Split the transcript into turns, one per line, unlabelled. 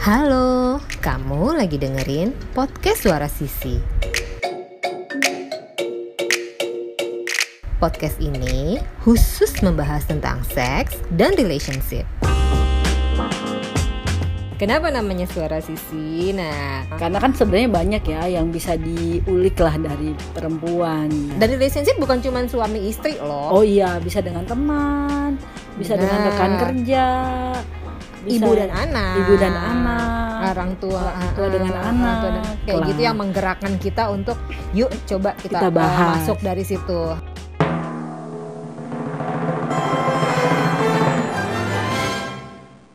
Halo, kamu lagi dengerin podcast Suara Sisi. Podcast ini khusus membahas tentang seks dan relationship. Kenapa namanya Suara Sisi? Nah,
Karena kan sebenarnya banyak ya yang bisa diulik lah dari perempuan.
dari relationship bukan cuma suami istri loh.
oh iya, bisa dengan teman, bisa dengan
Benar.
rekan kerja, bisa
ibu dan anak.
ibu dan anak.
orang tua,
Orang tua
ah,
dengan
orang
anak.
tua dengan- kayak
Kelar.
gitu yang menggerakkan kita untuk yuk coba kita,
Kita
eh,
bahas.
masuk dari situ